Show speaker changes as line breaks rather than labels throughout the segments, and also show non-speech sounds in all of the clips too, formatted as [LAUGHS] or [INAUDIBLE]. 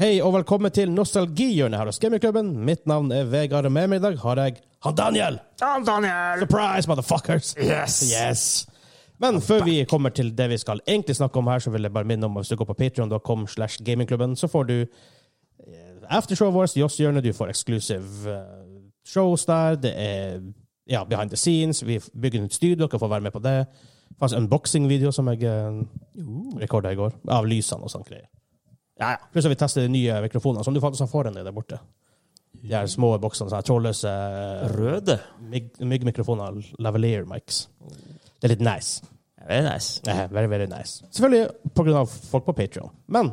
Hei og velkommen til Nostalgihjørnet her hos Gamingklubben. Mitt navn er Vegard, og med meg i dag har jeg han Daniel.
Sånn,
Dan Daniel!
Surprise, motherfuckers!
Yes!
Yes. Men før vi kommer til det vi skal egentlig snakke om her, så vil jeg bare minne om at hvis du går på patreon.com slash gamingklubben, så får du eh, aftershowet vårt, Joss-hjørnet, du får exclusive eh, shows der, det er ja, behind the scenes, vi bygger nytt studio, dere får være med på det. Faktisk unboxing-video som jeg uh, rekorda i går, av lysene og sånne greier.
Ja, ja.
Pluss at vi tester de nye mikrofonene, som du faktisk har foran deg der borte. De her små boksene, sånne her trådløse eh,
Røde.
myg- myggmikrofoner, lavalier mics. Det er litt nice.
Det er nice.
Eh, Very, very nice. Selvfølgelig på grunn av folk på Patreon. Men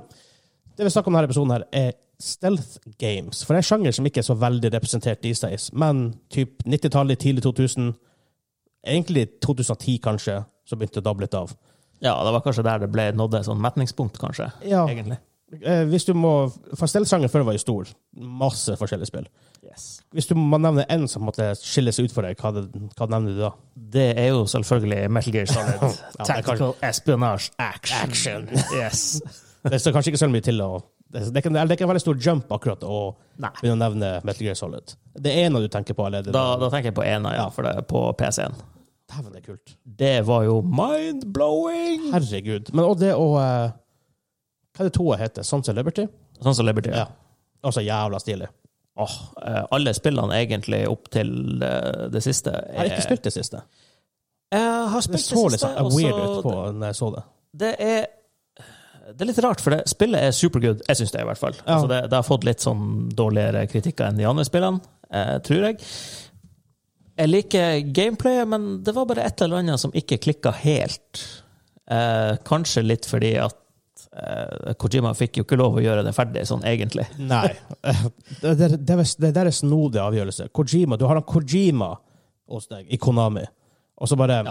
det vi snakker om i denne episoden, her er stealth games. For det er en sjanger som ikke er så veldig representert these days. Men typ 90-tallet, tidlig 2000, egentlig 2010 kanskje, så begynte det å dabbe litt av.
Ja, det var kanskje der det ble nådde et sånn metningspunkt, kanskje.
Ja.
Egentlig.
Eh, Hvis du må, for stealth-sjangeren før var jo stor. Masse forskjellige spill. Hvis du må nevne en som måtte skille seg ut for deg, hva, det, hva nevner du da?
Det er jo selvfølgelig Metal Gear Solid.
Ja, det er
Tactical espionage action. Yes.
Det står kanskje ikke så mye til å det er, ikke, eller det er ikke en veldig stor jump akkurat å
Nei.
begynne å nevne Metal Gear Solid. Det er en av du tenker på allerede.
Da, da tenker jeg på ena, ja, for det er på PC-en.
Dæven, det er kult.
Det var jo mind-blowing!
Herregud. Men og det å eh, Hva er det toa heter? Sons of Liberty?
Sånn som Liberty.
Ja. Altså jævla stilig.
Åh, eh, alle spillene egentlig opp til eh, det siste
Jeg har ikke spilt det siste.
Jeg har
Det
spilt det,
så litt
siste,
sånn
og så-
weird ut på når jeg så det.
det er det er litt rart, for det, spillet er supergood. Jeg syns det, i hvert fall.
Ja.
Altså det, det har fått litt sånn dårligere kritikker enn de andre spillene, eh, tror jeg. Jeg liker gameplayet, men det var bare et eller annet som ikke klikka helt. Eh, kanskje litt fordi at eh, Kojima fikk jo ikke lov å gjøre det ferdig, sånn egentlig.
Nei. [LAUGHS] det, det, det, det der er snodig avgjørelse. Kojima, Du har han Kojima hos deg i Konami, og så bare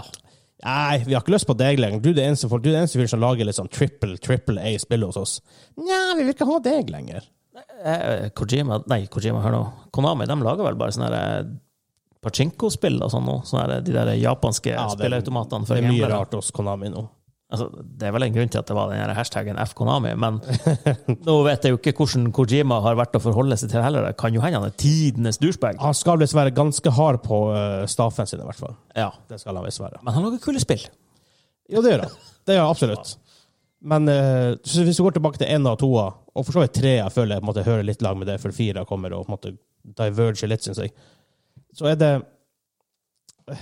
Nei, vi har ikke lyst på deg lenger. Du er den eneste, folk- du er den eneste fyren som lager litt sånn triple triple A-spill hos oss. Nja, vi vil ikke ha deg lenger.
Eh, Kojima, nei, Kojima, hør nå. Konami de lager vel bare sånne her, eh, pachinko-spill og sånn nå? Sånne her, de der japanske
Ja, det er-
spilleautomatene
Det
for
er mye
gamblere.
rart hos Konami nå.
Altså, det er vel en grunn til at det var den her hashtaggen fkonami, men [LAUGHS] nå vet jeg jo ikke hvordan Kojima har vært å forholde seg til heller. Det kan jo hende han er tidenes douchebag.
Han skal visst være ganske hard på eh, staffen sin, i hvert fall.
Ja.
Det skal han visst være.
Men han lager kule spill.
Jo, det gjør han. Det gjør han absolutt. Men eh, så hvis du går tilbake til én og toa, og for så vidt trea føler jeg på en måte hører litt lag med det, for fire kommer og på en måte diverger litt, syns jeg, så er det eh,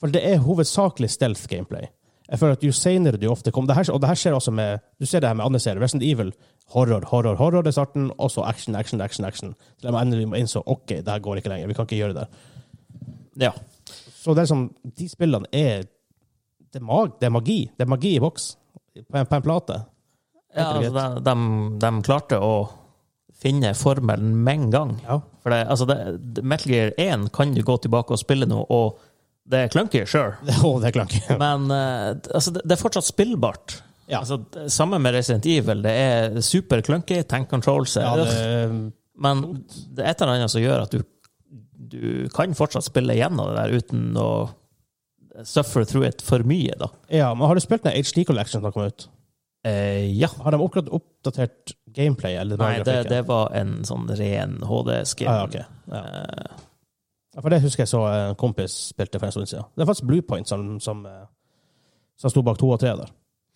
For det er hovedsakelig stealth gameplay. Jeg føler at Jo senere du ofte kommer det her, Og det her skjer også med Du ser det her med andre serier. Resident Evil. Horror, horror, horror i starten, og så action, action, action. action. Til jeg endelig må innså OK, det her går ikke lenger. Vi kan ikke gjøre det.
Ja.
Så det er som, de spillene er det er, mag, det er magi. Det er magi i boks. På en, på en plate. [LAUGHS]
ja
Enkelt og
altså, de, de, de klarte å finne formelen med en gang.
Ja.
For det, altså, det, Metal Gear 1 kan du gå tilbake og spille nå, og det er clunky, sure.
Å, det er klank.
Men eh, altså, det, det er fortsatt spillbart.
Ja.
Altså, det- Samme med Resident Evil. Det er super clunky, tank controls eh, er
Ja, det,
Men det er et eller annet som gjør at du, du kan fortsatt spille gjennom det der uten å suffer through it for mye, da.
ja, men har du spilt den HD Collection som har kommet ut?
Eh, ja.
Har de akkurat oppdatert gameplay? Eller
Nei, det,
grafikken?
det var en sånn ren HD-skin.
Ah, ja, ok. Ja.
Eh,
Ja, For det husker jeg så eh, en kompis spilte for en stund siden. Det er faktisk Bluepoint som, som, eh, som sto bak to og tre der.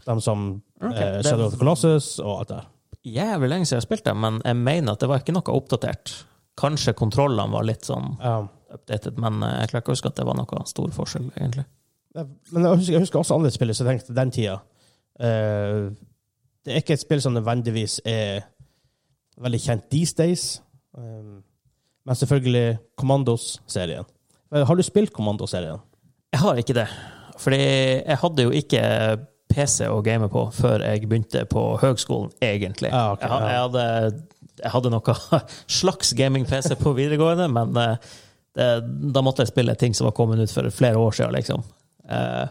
De som
Ok,
eh,
det-
Shadow of the Colossus og alt det der.
Jævlig lenge siden jeg spilte, men jeg mener at det var ikke noe oppdatert. Kanskje kontrollene var litt sånn
Um,
updated, men eh, jeg klarer ikke å huske at det var noe stor forskjell, egentlig.
Det- Men jeg husker, jeg husker også andre spill som jeg tenkte den tida. Eh, det er ikke et spill som nødvendigvis er veldig kjent these days. Um, men selvfølgelig Commandos-serien. Men Har du spilt Commandos-serien?
Jeg har ikke det. Fordi jeg hadde jo ikke PC å game på før jeg begynte på høgskolen, egentlig.
Ja, ok,
jeg, ha-
ja.
jeg, hadde, jeg hadde noe [LAUGHS] slags gaming-PC på videregående, men eh, det, da måtte jeg spille ting som var kommet ut for flere år siden, liksom. Eh,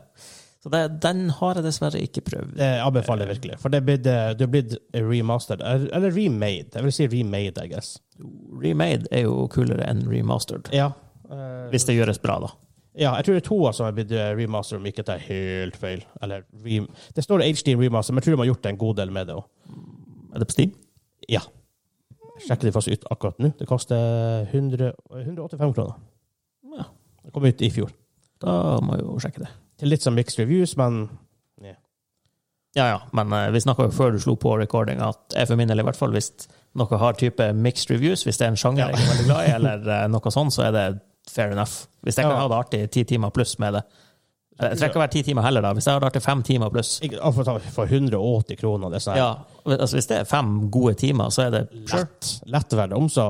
så det, den har jeg dessverre ikke prøvd.
Det anbefaler jeg virkelig. For det er blitt, eh, det er blitt remastered. Eller eller remade. Jeg vil si remade, I guess.
Remade er jo kulere enn remastered.
Ja. Eh,
Hvis det gjøres bra, da.
Ja, jeg tror det er to som er blitt eh, remaster, om ikke det er helt feil. Eller rem det står HD remaster, men jeg tror de har gjort en god del med det òg.
Er det på Steam?
Ja. Jeg sjekker det faktisk ut akkurat nå. Det koster 100, 185 kroner.
Ja.
Det kom ut i fjor.
Da må jeg jo sjekke det.
Til litt sånn mixed reviews, men
Ja, ja, men eh, vi snakka jo før du slo på recording, at jeg for min del i hvert fall hvis noe har type mixed reviews, hvis det er en sjanger jeg er veldig glad i, eller eh, noe sånt, så er det fair enough. Hvis jeg kan
Ja.
ha det artig i ti timer pluss med det. Eh, Jeg trenger ikke å være ti timer heller, da. Hvis jeg har det artig fem timer pluss,
ikke, ah, for, å ta- for 180 kroner det er sånn her.
ja, altså hvis det er fem gode timer, så er det
lett, lett å være det om, så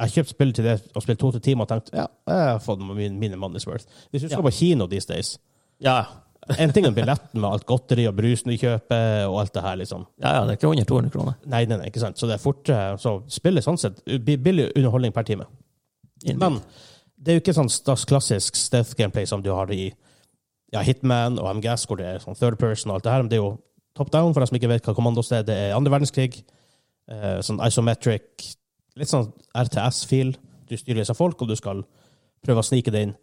jeg kjøpte spill til det og spilte to til timer og tenkte ja, jeg har fått min, mine money's worth. Hvis du skal
Ja.
på kino these days
Ja,
En ting er billetten med alt godteri og brusen du kjøper, og alt det her, liksom.
ja, ja det er ikke under 200 kroner.
Nei, nei, nei, ikke sant. Så det er fort eh, Så spillet sånn sett blir billig underholdning per time. Men det er jo ikke sånn stas- klassisk stealth gameplay som du har i ja, Hitman og MGS, hvor det er sånn third person og alt det her. Men det er jo top down, for dem som ikke vet hva kommandos er. Det er andre verdenskrig. eh, sånn isometric, litt sånn RTS-feel. Du styrer disse folk, og du skal prøve å snike det inn.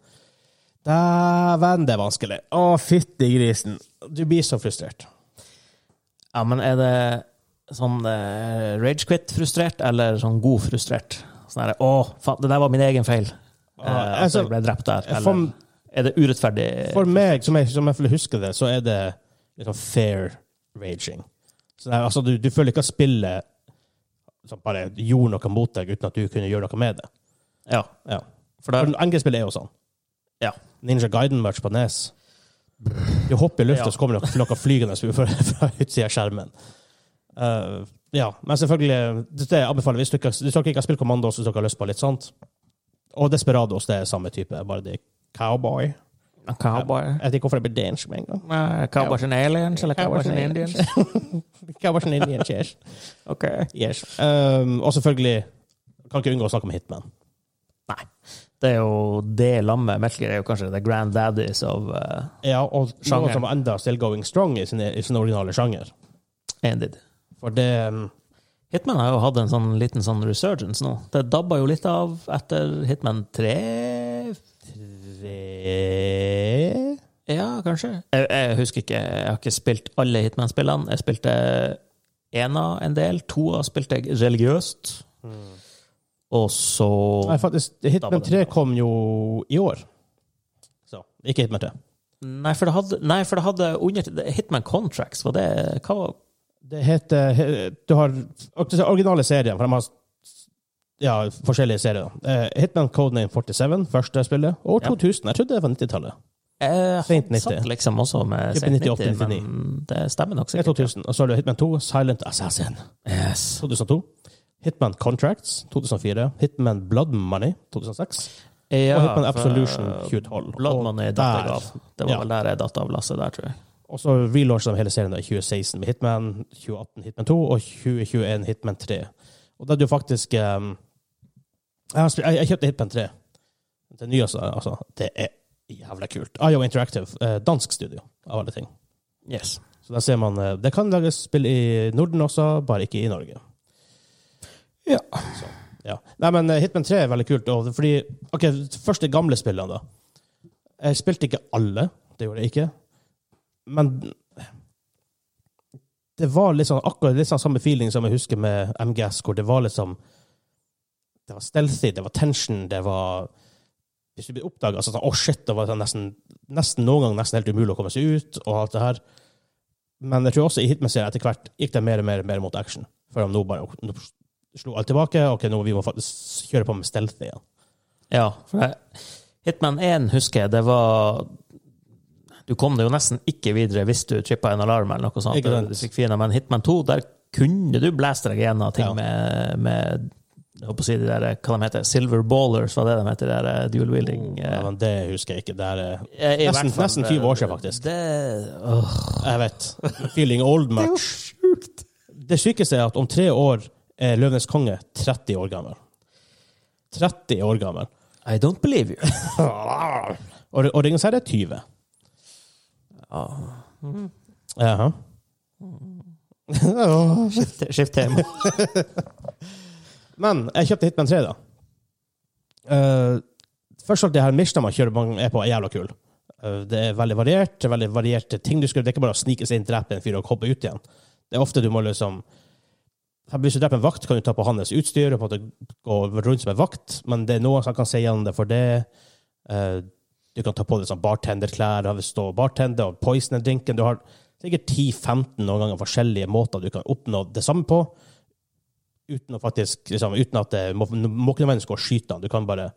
Dæven, det er vanskelig. Å, fytti grisen. Du blir så frustrert.
Ja, men er det sånn eh, rage quit-frustrert, eller sånn god frustrert? Sånn her, å, faen, det der var min egen feil.
Ja,
Eh, at
altså,
jeg ble drept der.
jeg
Eller
får-
er det urettferdig?
For meg, som jeg, som jeg føler husker det, så er det liksom fair raging. Så det er, altså, du, du føler ikke at spillet som bare gjorde noe mot deg uten at du kunne gjøre noe med det.
Ja,
Ja.
for det,
For Angrepsspill er jo sånn.
Ja.
Ninja Guiden-merch på Nes. Du hopper i lufta,
Ja.
så kommer det noe, noe flygende fra, fra utsida av skjermen. Eh, ja, men selvfølgelig det jeg anbefaler Hvis dere, hvis dere ikke har spilt Kommando, så dere har lyst på litt sånt Og Desperados det er samme type, bare det er cowboy.
cowboy.
Jeg vet ikke hvorfor det blir dansk med en gang.
Eh, Cowboys and aliens, eller
Cowboys
cowboys and
and
indians?
Cowboys and Indians, yes.
Ok.
yes. Um, og selvfølgelig kan ikke unngå å snakke om Hitman.
Det er jo det lammet. Metal Gear er jo kanskje the grand daddies of eh,
Ja, og
Sjanger.
noe som enda still going strong i sin, i sin originale sjanger.
Ended.
For det um,
Hitman har jo hatt en sånn liten sånn resurgence nå. Det dabba jo litt av etter Hitman 3
Tre
Ja, kanskje. Jeg, jeg husker ikke. Jeg har ikke spilt alle Hitman-spillene. Jeg spilte ena en del. Toa spilte jeg religiøst. Mm. Og så
Nei, faktisk,
Da var
Hitman
det
3
bra.
kom jo i år. Så ikke Hitman 3.
Nei, for det hadde, nei, for det hadde under Hitman Contracts, var det Hva var
Det heter he- Du har originale serien, for de har ja, forskjellige serier. Eh, Hitman Codename 47, første spillet, år
Ja.
2000. Jeg trodde det var 90-tallet.
eh,
Sent
han satt
90.
liksom også med
Type
sent
98,
90, men det stemmer nok
Det er
sikkert.
2000. Og så har du Hitman 2, Silent Assassin.
Yes.
2002. Hitman Contracts 2004. Hitman Blood Money 2006.
Ja,
og Hitman
for-
Absolution 2012.
Blood
Og
Money datt jeg
der-
av. Det var
ja.
vel der jeg datt av lasset der, tror jeg.
Og så relauncha de hele serien da i 2016 med Hitman 2018 Hitman 2 og 2021 Hitman 3. Og da er det jo faktisk ehm, jeg, har spilt- jeg, jeg kjøpte Hitman 3. Det nye, altså, altså. Det er jævla kult. IO Interactive, eh, dansk studio, av alle ting.
Yes.
Så der ser man eh, Det kan lages spill i Norden også, bare ikke i Norge.
Ja.
Så, ja. Nei, men eh, Hitman 3 er veldig kult. Og fordi, ok, Først de gamle spillene, da. Jeg spilte ikke alle. Det gjorde jeg ikke. Men det var litt sånn, akkurat litt sånn samme feeling som jeg husker med MGS, hvor det var liksom Det var stealthy, det var tension, det var Hvis du blir oppdaga, sånn Å, shit! Det var sånn nesten, nesten noen gang nesten helt umulig å komme seg ut, og alt det her. Men jeg tror også i Hitman-serien etter hvert gikk det mer og mer, og mer mot action. Før de nå bare nå slo alt tilbake. Ok, nå vi må faktisk kjøre på med stealth igjen.
Ja, for det, Hitman 1 husker jeg, det var Du kom deg jo nesten ikke videre hvis du trippa en alarm eller noe sånt.
Ikke sant.
Du fikk fiender, men Hitman 2, der kunne du blæste deg gjennom ting
Ja.
med, med jeg håper å si de der, hva de heter, Silver Ballers, var det de heter, de der eh, dual wielding
Ja, men det husker jeg ikke. Det er, eh,
eh, i
nesten- Oh,
hvert fall, eh,
nesten 20 år siden, faktisk.
Det, åh,
jeg vet. Feeling old
det er jo
much.
sjukt!
Det sykeste er at om tre år er Løvenes konge 30 år gammel. 30 år gammel.
I don't believe you.
Og, og Ringens herre er 20.
Ja. Mm.
Jaha. [LAUGHS]
Skift, skift tema.
Men jeg kjøpte Hitman 3, da. Eh, først og fremst, det her missionet man kjører mange er på, er jævla kul. Eh, det er veldig variert. det er veldig varierte ting du skal, Det er ikke bare å snike seg inn, drepe en fyr og hoppe ut igjen. Det er ofte du må liksom Hvis du dreper en vakt, kan du ta på hans utstyr og på en måte gå rundt som en vakt, men det er noe som kan si gjennom det for det. Eh, Du kan ta på deg sånn bartenderklær, ha- stå og bartender og poisone drinken. Du har sikkert 10-15 noen ganger forskjellige måter du kan oppnå det samme på, uten, å faktisk, liksom, uten at det må, må ikke nødvendigvis gå og skyte den. Du kan bare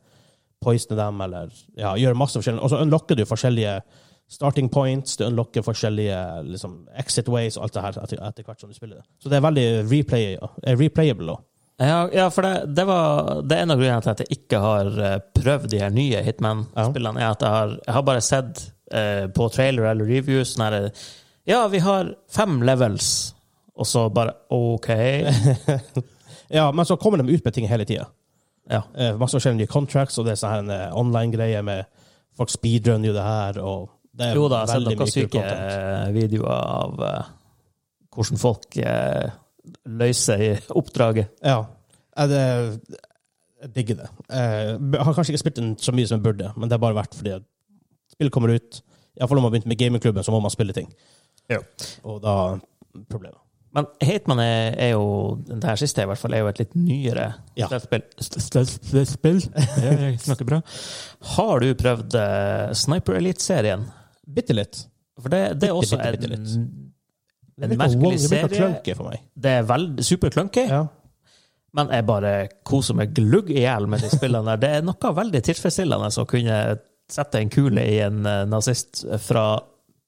poisone dem eller ja, gjøre masse forskjellig. Og så unlocker du forskjellige starting points, du unlocker forskjellige liksom, exit ways og alt det her etter, etter hvert som du spiller det. Så det er veldig replay, eh, replayable. også. [LAUGHS]
Ja, ja for det, det var det er en av grunnene til at jeg ikke har eh, prøvd de her nye Hitman-spillene. er at jeg har, jeg har bare sett eh, på trailer eller reviews sånn her Ja, vi har fem levels, og så bare
[LAUGHS]
OK.
Ja, men så kommer de ut med ting hele tida.
Ja.
Eh, masse forskjellige nye contracts, og det er sånn her en eh, online-greie med Folk speedrunner jo det her, og det er
Jo da, jeg har sett
veldig mye
noen
kult
syke
content.
eh, videoer av eh, hvordan folk eh, løser i oppdraget.
Ja. Eh, det, jeg digger det. Eh, b- har kanskje ikke spilt den så mye som jeg burde, men det har bare vært fordi at spillet kommer ut. Iallfall når man har begynt med gamingklubben, så må man spille ting.
Ja.
Og da Problemet.
Men Hateman er, er jo det her siste i hvert fall, er jo et litt nyere
Ja.
stealth-spill. [LAUGHS] Stealth-spill? Ja, jeg snakker bra. Har du prøvd eh, Sniper Elite-serien?
Bitte litt.
For det, det
Bitte,
er også
bitte, bitte
en,
Det
en
virker wonky,
merkelig
det virker
serie.
clunky for meg.
Det er veldig superklunky,
Ja.
men jeg bare koser meg glugg i hjel med de spillene der. Det er noe veldig tilfredsstillende å kunne sette en kule i en eh, nazist fra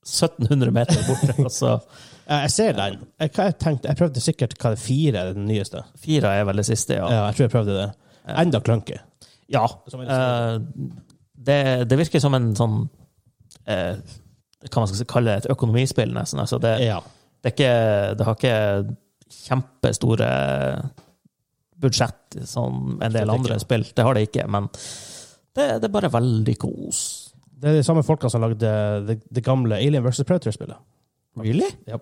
1700 meter borte, [LAUGHS] og så
Eh, Jeg ser den. Jeg, hva jeg, tenkte, jeg prøvde sikkert hva det fire er den nyeste.
Fire er vel det siste, ja.
Ja, jeg tror jeg prøvde det. Enda klunky.
Ja.
Som en-
eh, det, det virker som en sånn eh, Hva man skal kalle det? Et økonomispill, nesten. Altså det,
Eh, Ja.
det, er ikke, det har ikke kjempestore budsjett som en del
Absolutt
andre
ikke.
spill. Det har det ikke, men det, det er bare veldig kos.
Det er de samme folka som lagde det, det gamle Alien vs. Predator-spillet.
Really?
Ja.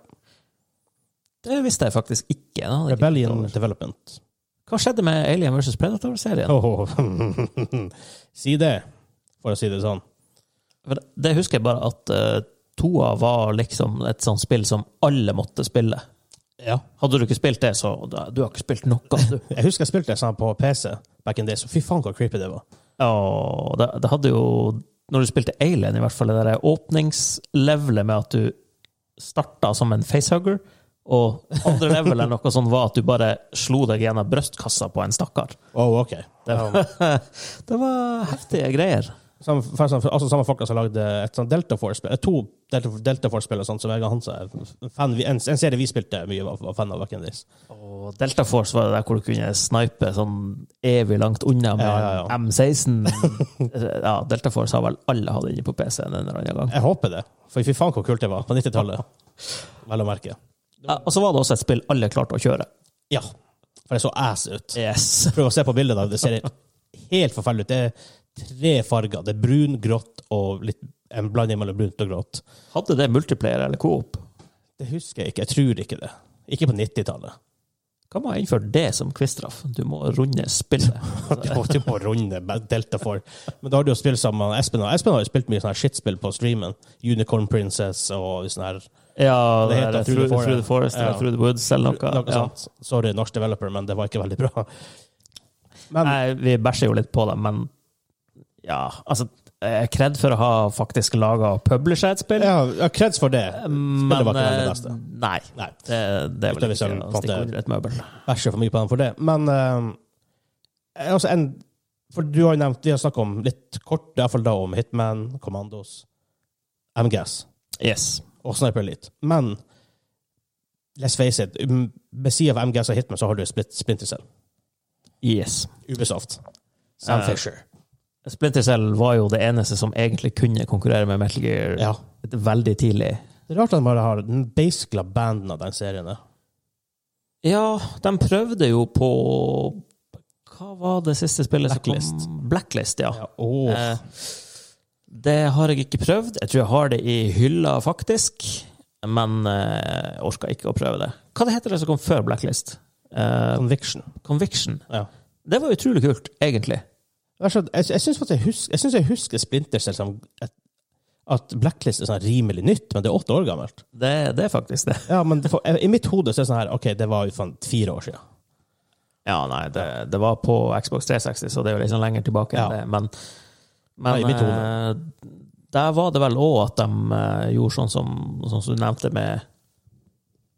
Det visste jeg faktisk ikke. da. Det er ikke
Rebellion
klart.
Development.
Hva skjedde med Alien vs. Predator-serien?
Åh, [LAUGHS] si det, for å si det sånn.
For det- Det husker jeg bare at eh, toa var liksom et sånt spill som alle måtte spille.
Ja.
Hadde du ikke spilt det, så da- Du har ikke spilt noe, [LAUGHS] du.
Jeg husker jeg spilte det sånn på PC back in days, og fy faen hvor creepy det var.
Og det, det hadde jo Når du spilte Alien, i hvert fall, det der åpningslevelet med at du starta som en facehugger, og [LAUGHS] andre level eller noe sånt var at du bare slo deg gjennom brystkassa på en stakkar.
Oh, ok.
Det, [LAUGHS] det var heftige greier.
Samme, for, for, altså samme folka som lagde et sånt Delta Force-spill, eh, to Delta, Delta Force-spill og sånt, som Vegard Hansa er f- fan, vi- en, en serie vi spilte mye, var, var fan av back in days.
Og Delta Force var det der hvor du kunne snipe sånn evig langt unna med
Ja, ja, ja.
[LAUGHS] M16. Ja, Delta Force har vel alle hatt inne på PC-en en eller annen gang.
Jeg håper det, for fy faen hvor kult det var på [LAUGHS] 90-tallet. Vel å merke.
Ja, og så var det også et spill alle klarte å kjøre.
Ja, for det så ass ut.
Yes.
Prøv å se på bildet, da. Det ser helt forferdelig ut. Det er tre farger. Det er brun, grått og litt en blanding mellom brunt og grått.
Hadde det multiplayer eller coop?
Det husker jeg ikke. Jeg tror ikke det. Ikke på 90-tallet.
Kan man innføre det som quizstraff? Du må runde spillet.
[LAUGHS] Du, må- du må runde med Delta for. Men da har du jo spilt sammen med Espen. Og Espen har jo spilt mye sånne her shitspill på streamen. Unicorn Princess og sånn her.
Ja,
Det heter
det er
Through the
Through,
Forest.
Through the Forest eller
Ja.
Through the Woods eller noe.
Noe
ja.
sånt. Sorry, norsk developer, men det var ikke veldig bra. Men
Nei, vi bæsjer jo litt på det, men ja, altså jeg er Kred for å ha faktisk laga og publisha et spill,
ja, ja, kreds for det.
men
Spillet var ikke
eh,
det beste.
Nei.
Nei.
Det, det er
Utover
vel ikke
selv, på
å
en måte.
stikke under et møbel.
bæsje for mye på dem for det. Men eh, altså en, for du har jo nevnt, vi har snakket om litt kort, i hvert fall da om Hitman, Commandos, MGS
Yes.
og Sniper Elite. Men let's face it, um, ved siden av MGS og Hitman så har du Split, Splinter Cell.
yes.
Ubisoft. Sam
Eh,
Fisher.
Splinter Cell var jo det eneste som egentlig kunne konkurrere med Metal Gear
Ja.
veldig tidlig.
Det er rart at de bare har den basically banden av den serien. der.
Ja, de prøvde jo på Hva var det siste spillet
Blacklist.
som kom? Blacklist, ja.
Ja, åh.
Eh, Det har jeg ikke prøvd. Jeg tror jeg har det i hylla, faktisk. Men eh, jeg orka ikke å prøve det. Hva det heter det som kom før Blacklist? Eh,
Conviction.
Conviction.
Ja.
Det var utrolig kult, egentlig.
Det er sånn- Jeg, jeg syns faktisk jeg husker, jeg, synes jeg husker Splinter Cell som et, at Blacklist er sånn rimelig nytt, men det er åtte år gammelt.
Det, det er faktisk det.
eh, Ja, men det får- i mitt hode så er det sånn her OK, det var jo faen fire år siden.
Ja, nei, det, det var på Xbox 360, så det er jo liksom lenger tilbake enn
Ja.
det. Men,
Nei,
men
mitt
eh, der var det vel òg at de eh, gjorde sånn som, sånn som du nevnte med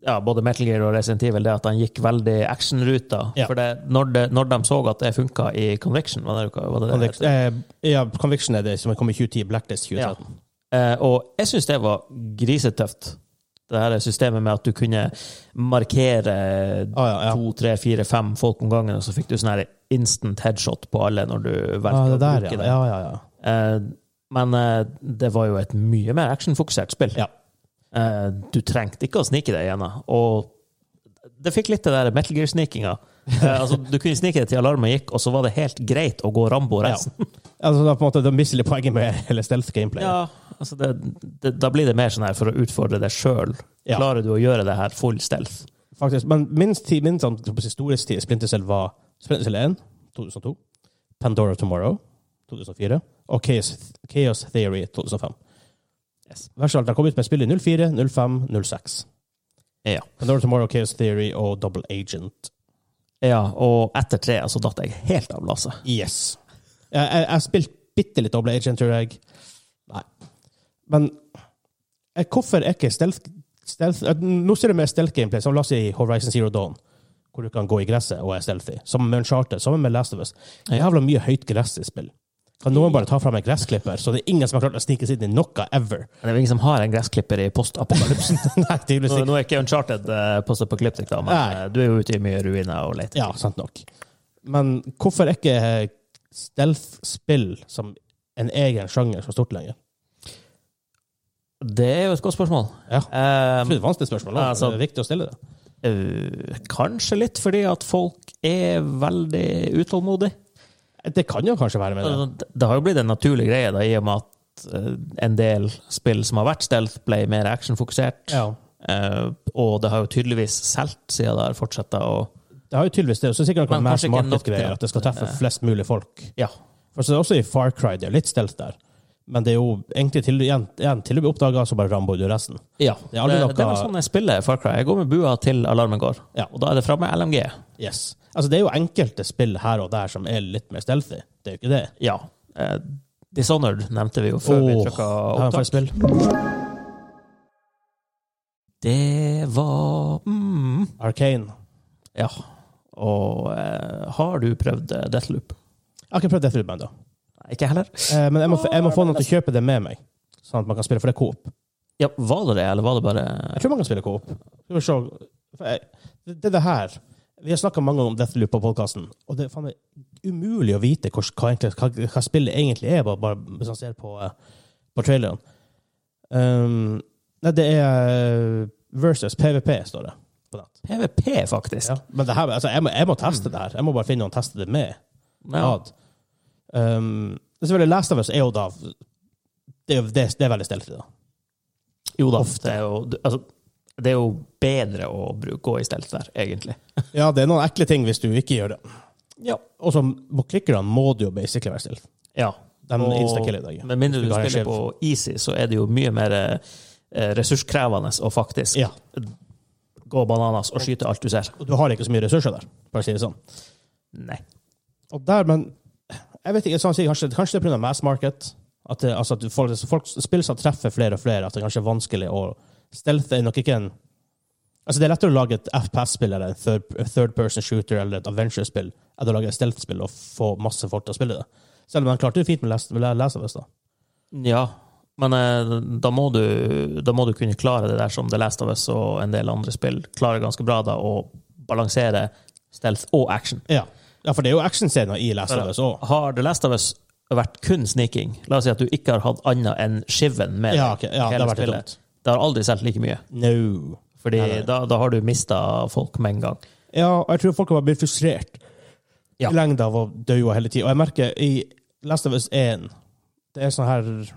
ja, både Metal Gear og Resident Evil, det at han gikk veldig actionruta.
Ja.
For det, når, det, når de så at det funka i Conviction, var det hva- var det, det
Conviction, eh, ja, Conviction er det som kom i 2010, Blacklist 2013.
Eh, og jeg syns det var grisetøft. Det her systemet med at du kunne markere
Ah, ja, ja.
to, tre, fire, fem folk om gangen, og så fikk du sånn her instant headshot på alle når du valgte
Ah,
å
det der,
bruke
ja.
det.
ja, ja, ja.
Eh, men eh, det var jo et mye mer actionfokusert spill.
Ja.
Eh, du trengte ikke å snike deg gjennom. Og det fikk litt det der Metal Gear-snikinga. Eh,
[LAUGHS]
altså, du kunne snike deg til alarmen gikk, og så var det helt greit å gå Rambo
Ja.
resten.
[LAUGHS] Altså, da, på en måte, da mister litt poenget med [LAUGHS] hele stealth gameplay.
Ja, altså det, det, da blir det mer sånn her for å utfordre deg sjøl.
Ja.
Klarer du å gjøre det her full stealth?
Faktisk. Men min, tid, min sånn, på sin storhetstid Splinter Cell var Splinter Cell 1, 2002, Pandora Tomorrow, 2004, og Chaos, Chaos Theory, 2005.
Yes.
Verst av alt, de kom ut med spill i 04, 05, 06.
Ja.
Pandora Tomorrow, Chaos Theory og Double Agent.
ja. Og etter tre så datt jeg helt av lasset.
Yes. Jeg, jeg, jeg spilte bitte litt Double Agent, tror jeg. Nei. Men eh, hvorfor er ikke stealth, stealth eh, Nå ser du mer stealth gameplay, som la oss si Horizon Zero Dawn, hvor du kan gå i gresset og er stealthy. Sammen med Uncharted, sammen med Last of Us. Det er Jævla mye høyt gress i spill. Kan noen bare ta fram en gressklipper, så det er ingen som har klart å snike seg inn i noe [LAUGHS] ever?
Men Det er jo ingen som har en gressklipper i postapokalypsen.
Nei, tydeligvis
[LAUGHS] nå,
ikke.
nå er ikke Uncharted eh, postapokalyptic, da, men
Nei.
eh, du er jo ute i mye ruiner og leter.
Ja, sant nok. Men hvorfor er ikke eh, stealth-spill som en egen sjanger så stort lenger?
Det er jo et godt spørsmål.
Ja.
Eh,
Jeg tror det er et vanskelig spørsmål, men
Altså-
det er viktig å stille det.
eh, kanskje litt fordi at folk er veldig utålmodige.
Det kan jo kanskje være med det.
Altså, Det, det har jo blitt en naturlig greie, da, i og med at eh, en del spill som har vært stealth, ble mer actionfokusert.
Ja.
Eh, og det har jo tydeligvis solgt, siden det har fortsatt å
Det har jo tydeligvis det. og Så er det sikkert
Men
noen mass
kanskje ikke nok til
market-greier,
at-
at det skal treffe flest mulig folk.
Ja.
For så er det også i Far Cry, det er litt stelt der. Men det er jo egentlig til, igjen, igjen, til å bli oppdaga, så bare rambo du resten.
ja.
Det
Det,
er aldri
det,
noe-
er vel sånn jeg spiller Far Cry. Jeg går med bua til alarmen går,
Ja.
og da er det framme LMG.
Yes. Altså, det er jo enkelte spill her og der som er litt mer stealthy. Det er jo ikke det.
Ja. Eh, Dishonored nevnte vi jo før vi
Åh,
trykka
Det er jo
opptak.
faktisk spill.
Det var mm,
Arcane.
Ja. Og eh, har du prøvd eh, Deathloop?
Jeg har ikke prøvd Deathloop ennå,
Nei, Ikke heller.
Eh, men jeg må, jeg må få noen til å kjøpe det med meg. Sånn at man kan spille, for det er coop.
Ja, var det det, eller var det bare
Jeg tror man kan spille coop. Skal vi se For jeg- Det er det her. Vi har snakka mange om Deathloop på podkasten, og det er faen meg umulig å vite hvor, hva, egentlig, hva, hva spillet egentlig er, bare, bare hvis man ser på, eh, på traileren. Um, nei, det er eh, versus PVP, står det på nett.
PVP, faktisk?
Ja. Men det her, altså, jeg, må, jeg må teste det her. Jeg må bare finne noen å teste det med.
Ja.
Ad. Um, selvfølgelig, Last of Us er jo da Det er, jo- det, det er veldig stelt i, da.
Jo da,
Ofte.
det er jo, du- altså, det er jo bedre å bruke, gå i stelt der, egentlig.
Ja, det er noen ekle ting hvis du ikke gjør det.
Ja.
Og så må- klikkerne må du jo basically være stille.
Ja.
De
Og
instakiller deg.
Med mindre du
Hvis du har en sjef.
spiller på Easy, så er det jo mye mer eh, ressurskrevende å faktisk
Ja.
gå bananas og skyte alt du ser.
Og du har ikke så mye ressurser der, for å si det sånn.
Nei.
Og der, men jeg vet ikke, sånn å si, kanskje, kanskje det er pga. mass market. At, det, altså, at du får, folk, spill som treffer flere og flere, at det kanskje er vanskelig å Stealth er nok ikke en Altså, det er lettere å lage et FPS-spill eller en third, third person shooter eller et adventure-spill enn å lage et stealth-spill og få masse folk til å spille det. Selv om han klarte det fint med Last, med Last of Us, da.
Ja. Men eh, da, må du, da må du kunne klare det der som The Last of Us og en del andre spill klarer ganske bra, da, å balansere stealth og action.
Ja. ja, for det er jo actionscener i Last of Us òg.
Har The Last of Us vært kun sniking, la oss si at du ikke har hatt annet enn skiven med
Ja, ok. Ja, det har vært litt dumt.
det har aldri solgt like mye.
No.
Fordi
Nei, nei.
Da, da har du mista folk med en gang.
Ja, og jeg tror folk har blitt frustrert i
Ja.
lengda av å dø hele tida. Og jeg merker i Last of Us 1 Det er sånne her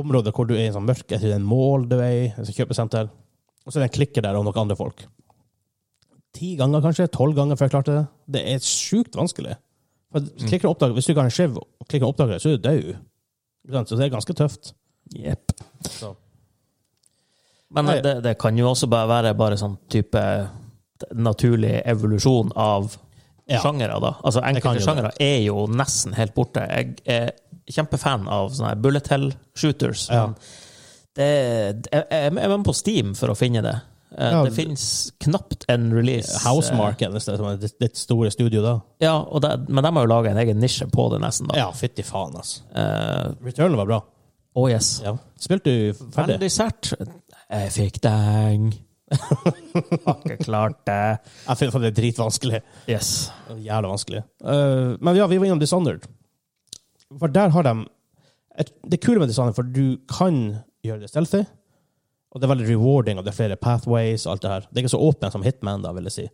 områder hvor du er i en sånn mørke, til en mål du er i, et sånt kjøpesenter, og så er det en klikker der og noen andre folk. Ti ganger, kanskje. Tolv ganger før jeg klarte det. Det er sjukt vanskelig. For klikker og oppdager, hvis du ikke har en skiv og klikker og oppdager det, så er du død. Ikke sant? Så det er ganske tøft.
Jepp.
Så.
Men
Nei.
det, det kan jo også bare være bare sånn type naturlig evolusjon av
Ja.
sjangere, da. Altså,
kan jo
enkelte
det.
sjangere er jo nesten helt borte. Jeg er kjempefan av sånne her bullet hell shooters.
Ja.
Men det, jeg, jeg jeg er med på Steam for å finne det. Eh,
Ja,
det
det-
finnes knapt en release.
Housemark er nesten som er ditt ditt store studio, da.
Eh, Ja, og det, men de har jo laga en egen nisje på det, nesten. da.
Ja, fytti faen, altså.
Eh,
Returnal var bra.
oh yes.
Ja. Spilte du ferdig?
Veldig sært. Jeg fikk deng. [LAUGHS] Har ikke klart det.
Jeg finner det er dritvanskelig.
Yes.
Jævla vanskelig. Eh, men ja, vi var innom Dishonored. For der har de et, Det er kule med Dishonored, for du kan gjøre det stealthy. Og det er veldig rewarding, og det er flere pathways og alt det her. Det er ikke så åpent som Hitman, da, vil jeg si.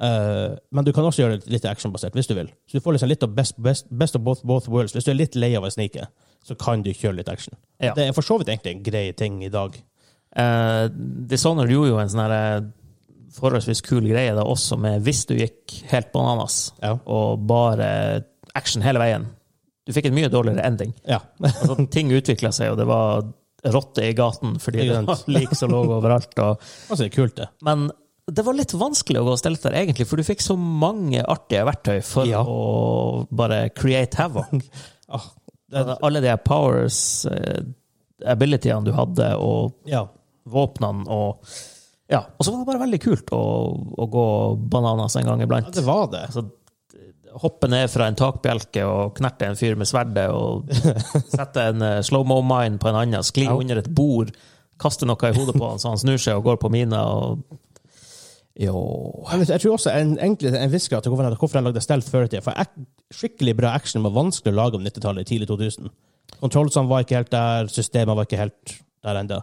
Eh, men du kan også gjøre det litt actionbasert, hvis du vil. Så du får liksom litt av best, best, best of both, both worlds. Hvis du er litt lei av å snike, så kan du kjøre litt action.
Ja.
Det er for så vidt egentlig en grei ting i dag.
Eh, Dishonored gjorde jo en sånn her eh, forholdsvis kul greie da også, med hvis du gikk helt bananas
Ja.
og bare action hele veien. Du fikk en mye dårligere ending.
Ja.
Altså, ting utvikla seg, og det var rotter i gaten fordi det
Ikke sant?
var lik som lå overalt. Og,
Altså, det er kult, det.
men det var litt vanskelig å gå stelt der, egentlig, for du fikk så mange artige verktøy for
Ja.
å bare create havoc.
[LAUGHS] Ah, det
Altså, Alle de her powers, eh, abilityene du hadde, og
ja.
våpnene og Ja. Og så var det bare veldig kult å, å gå bananas en gang
Ja,
iblant.
det var det.
Altså, hoppe ned fra en takbjelke og knerte en fyr med sverdet og [LAUGHS] sette en eh, slow mo mine på en annen, skli
Ja.
under et bord, kaste noe i hodet på han så han snur seg og går på mina og Jo
Men Jeg tror også en, egentlig en visker til hvorfor, hvorfor jeg lagde Stealth før i tida. For ek, skikkelig bra action var vanskelig å lage om 90-tallet, tidlig 2000. Kontrollsene var ikke helt der, systemene var ikke helt der ennå.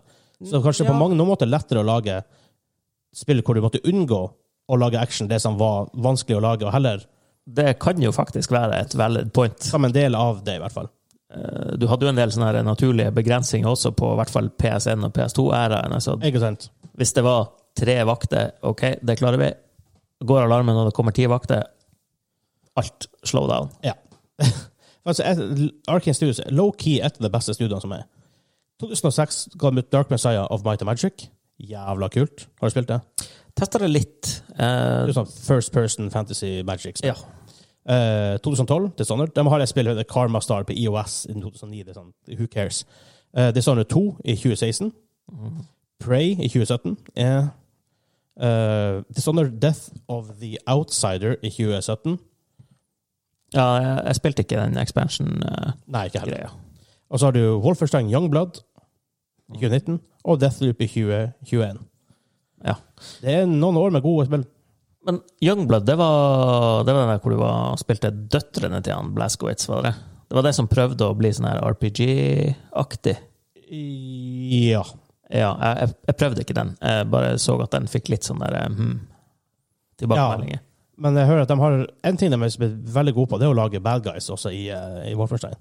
Så kanskje
Ja.
på mange måter lettere å lage spill hvor du måtte unngå å lage action, det som var vanskelig å lage, og heller
Det kan jo faktisk være et valid point.
som en del av det, i hvert fall.
Eh, Du hadde jo en del sånne her naturlige begrensninger også på i hvert fall PS1 og PS2-æraen. Altså,
Ikke sant?
hvis det var tre vakter, OK, det klarer vi. Går alarmen når det kommer ti vakter, alt slow down.
Ja. altså, et- Arkane Studios er low-key et av de beste studioene som er. 2006 ga de ut Dark Messiah of Might and Magic. Jævla kult. Har du spilt det?
Tester det litt.
Det er
Eh,
jo sånn First Person Fantasy Magic.
ja.
Eh, 2012, Dishonored. De har et spill som heter Karma Star på IOS i 2009. Det er sånn, who cares? Uh, Dishonored 2 i 2016.
Mhm.
Prey i 2017. Eh. Eh, Dishonored Death of the Outsider i 2017.
ja, jeg, jeg spilte ikke den expansion-greia.
Nei, ikke heller. Og så har du Wolferstein Youngblood i 2019 og Deathloop i 2021.
Ja.
Det er noen år med gode spill.
Men Youngblood, det var, det var den der hvor du var, spilte døtrene til han Blazkowicz, var det det? Det var det som prøvde å bli sånn her RPG-aktig.
Ja.
Ja, jeg, jeg- jeg prøvde ikke den. Jeg bare så at den fikk litt sånn der eh, hmm, tilbakemeldinger.
Men jeg hører at de har en ting de er veldig gode på, det er å lage bad guys også i, eh, i Wolfenstein.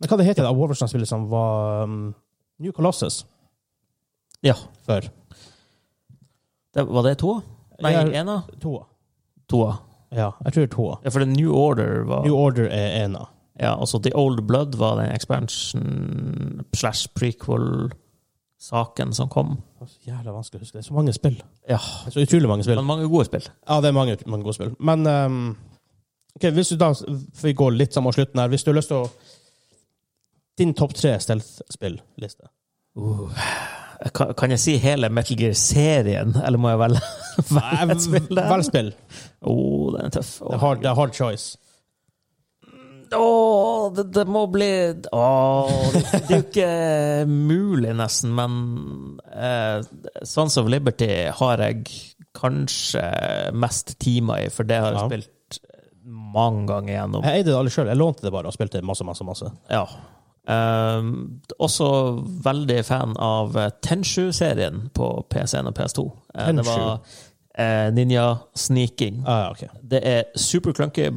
Men hva det heter det Wolfenstein-spillet som var um, New Colossus
Ja.
før?
Det, var det to? Nei,
Ja.
én av
Toa.
toa.
Ja, jeg tror toa.
Ja, for The New Order var
New Order er ena.
Ja, altså The Old Blood var den expansion slash prequel-saken som kom.
Det er så Jævla vanskelig å huske. Det er så mange spill.
Ja.
Det er så utrolig mange spill.
Men mange gode spill.
Ja, det er mange, mange gode spill. Men ehm, ok, hvis du da for Vi går litt sammen mot slutten her. Hvis du har lyst til å Din topp tre
[LAUGHS]
stealth-spill-liste.
Kan, kan jeg si hele Metal Gear-serien, eller må jeg velge [LAUGHS] vel et spill der?
Velg spill.
Å, den er tøff.
Det
Å,
er hard, det er hard choice.
Åh, det, det må bli Åh, det, det er jo ikke mulig, nesten, men eh, Sons of Liberty har jeg kanskje mest timer i, for det har jeg
Ja.
spilt mange ganger gjennom.
Jeg eide det alle sjøl. Jeg lånte det bare og spilte masse, masse, masse.
Ja. Ehm, også veldig fan av eh, Tenshu-serien på PS1 og PS2. Eh, det
Tenshu?
var eh, ninja-sneaking.
Ah, ja, ok.
Det er superclunky eh,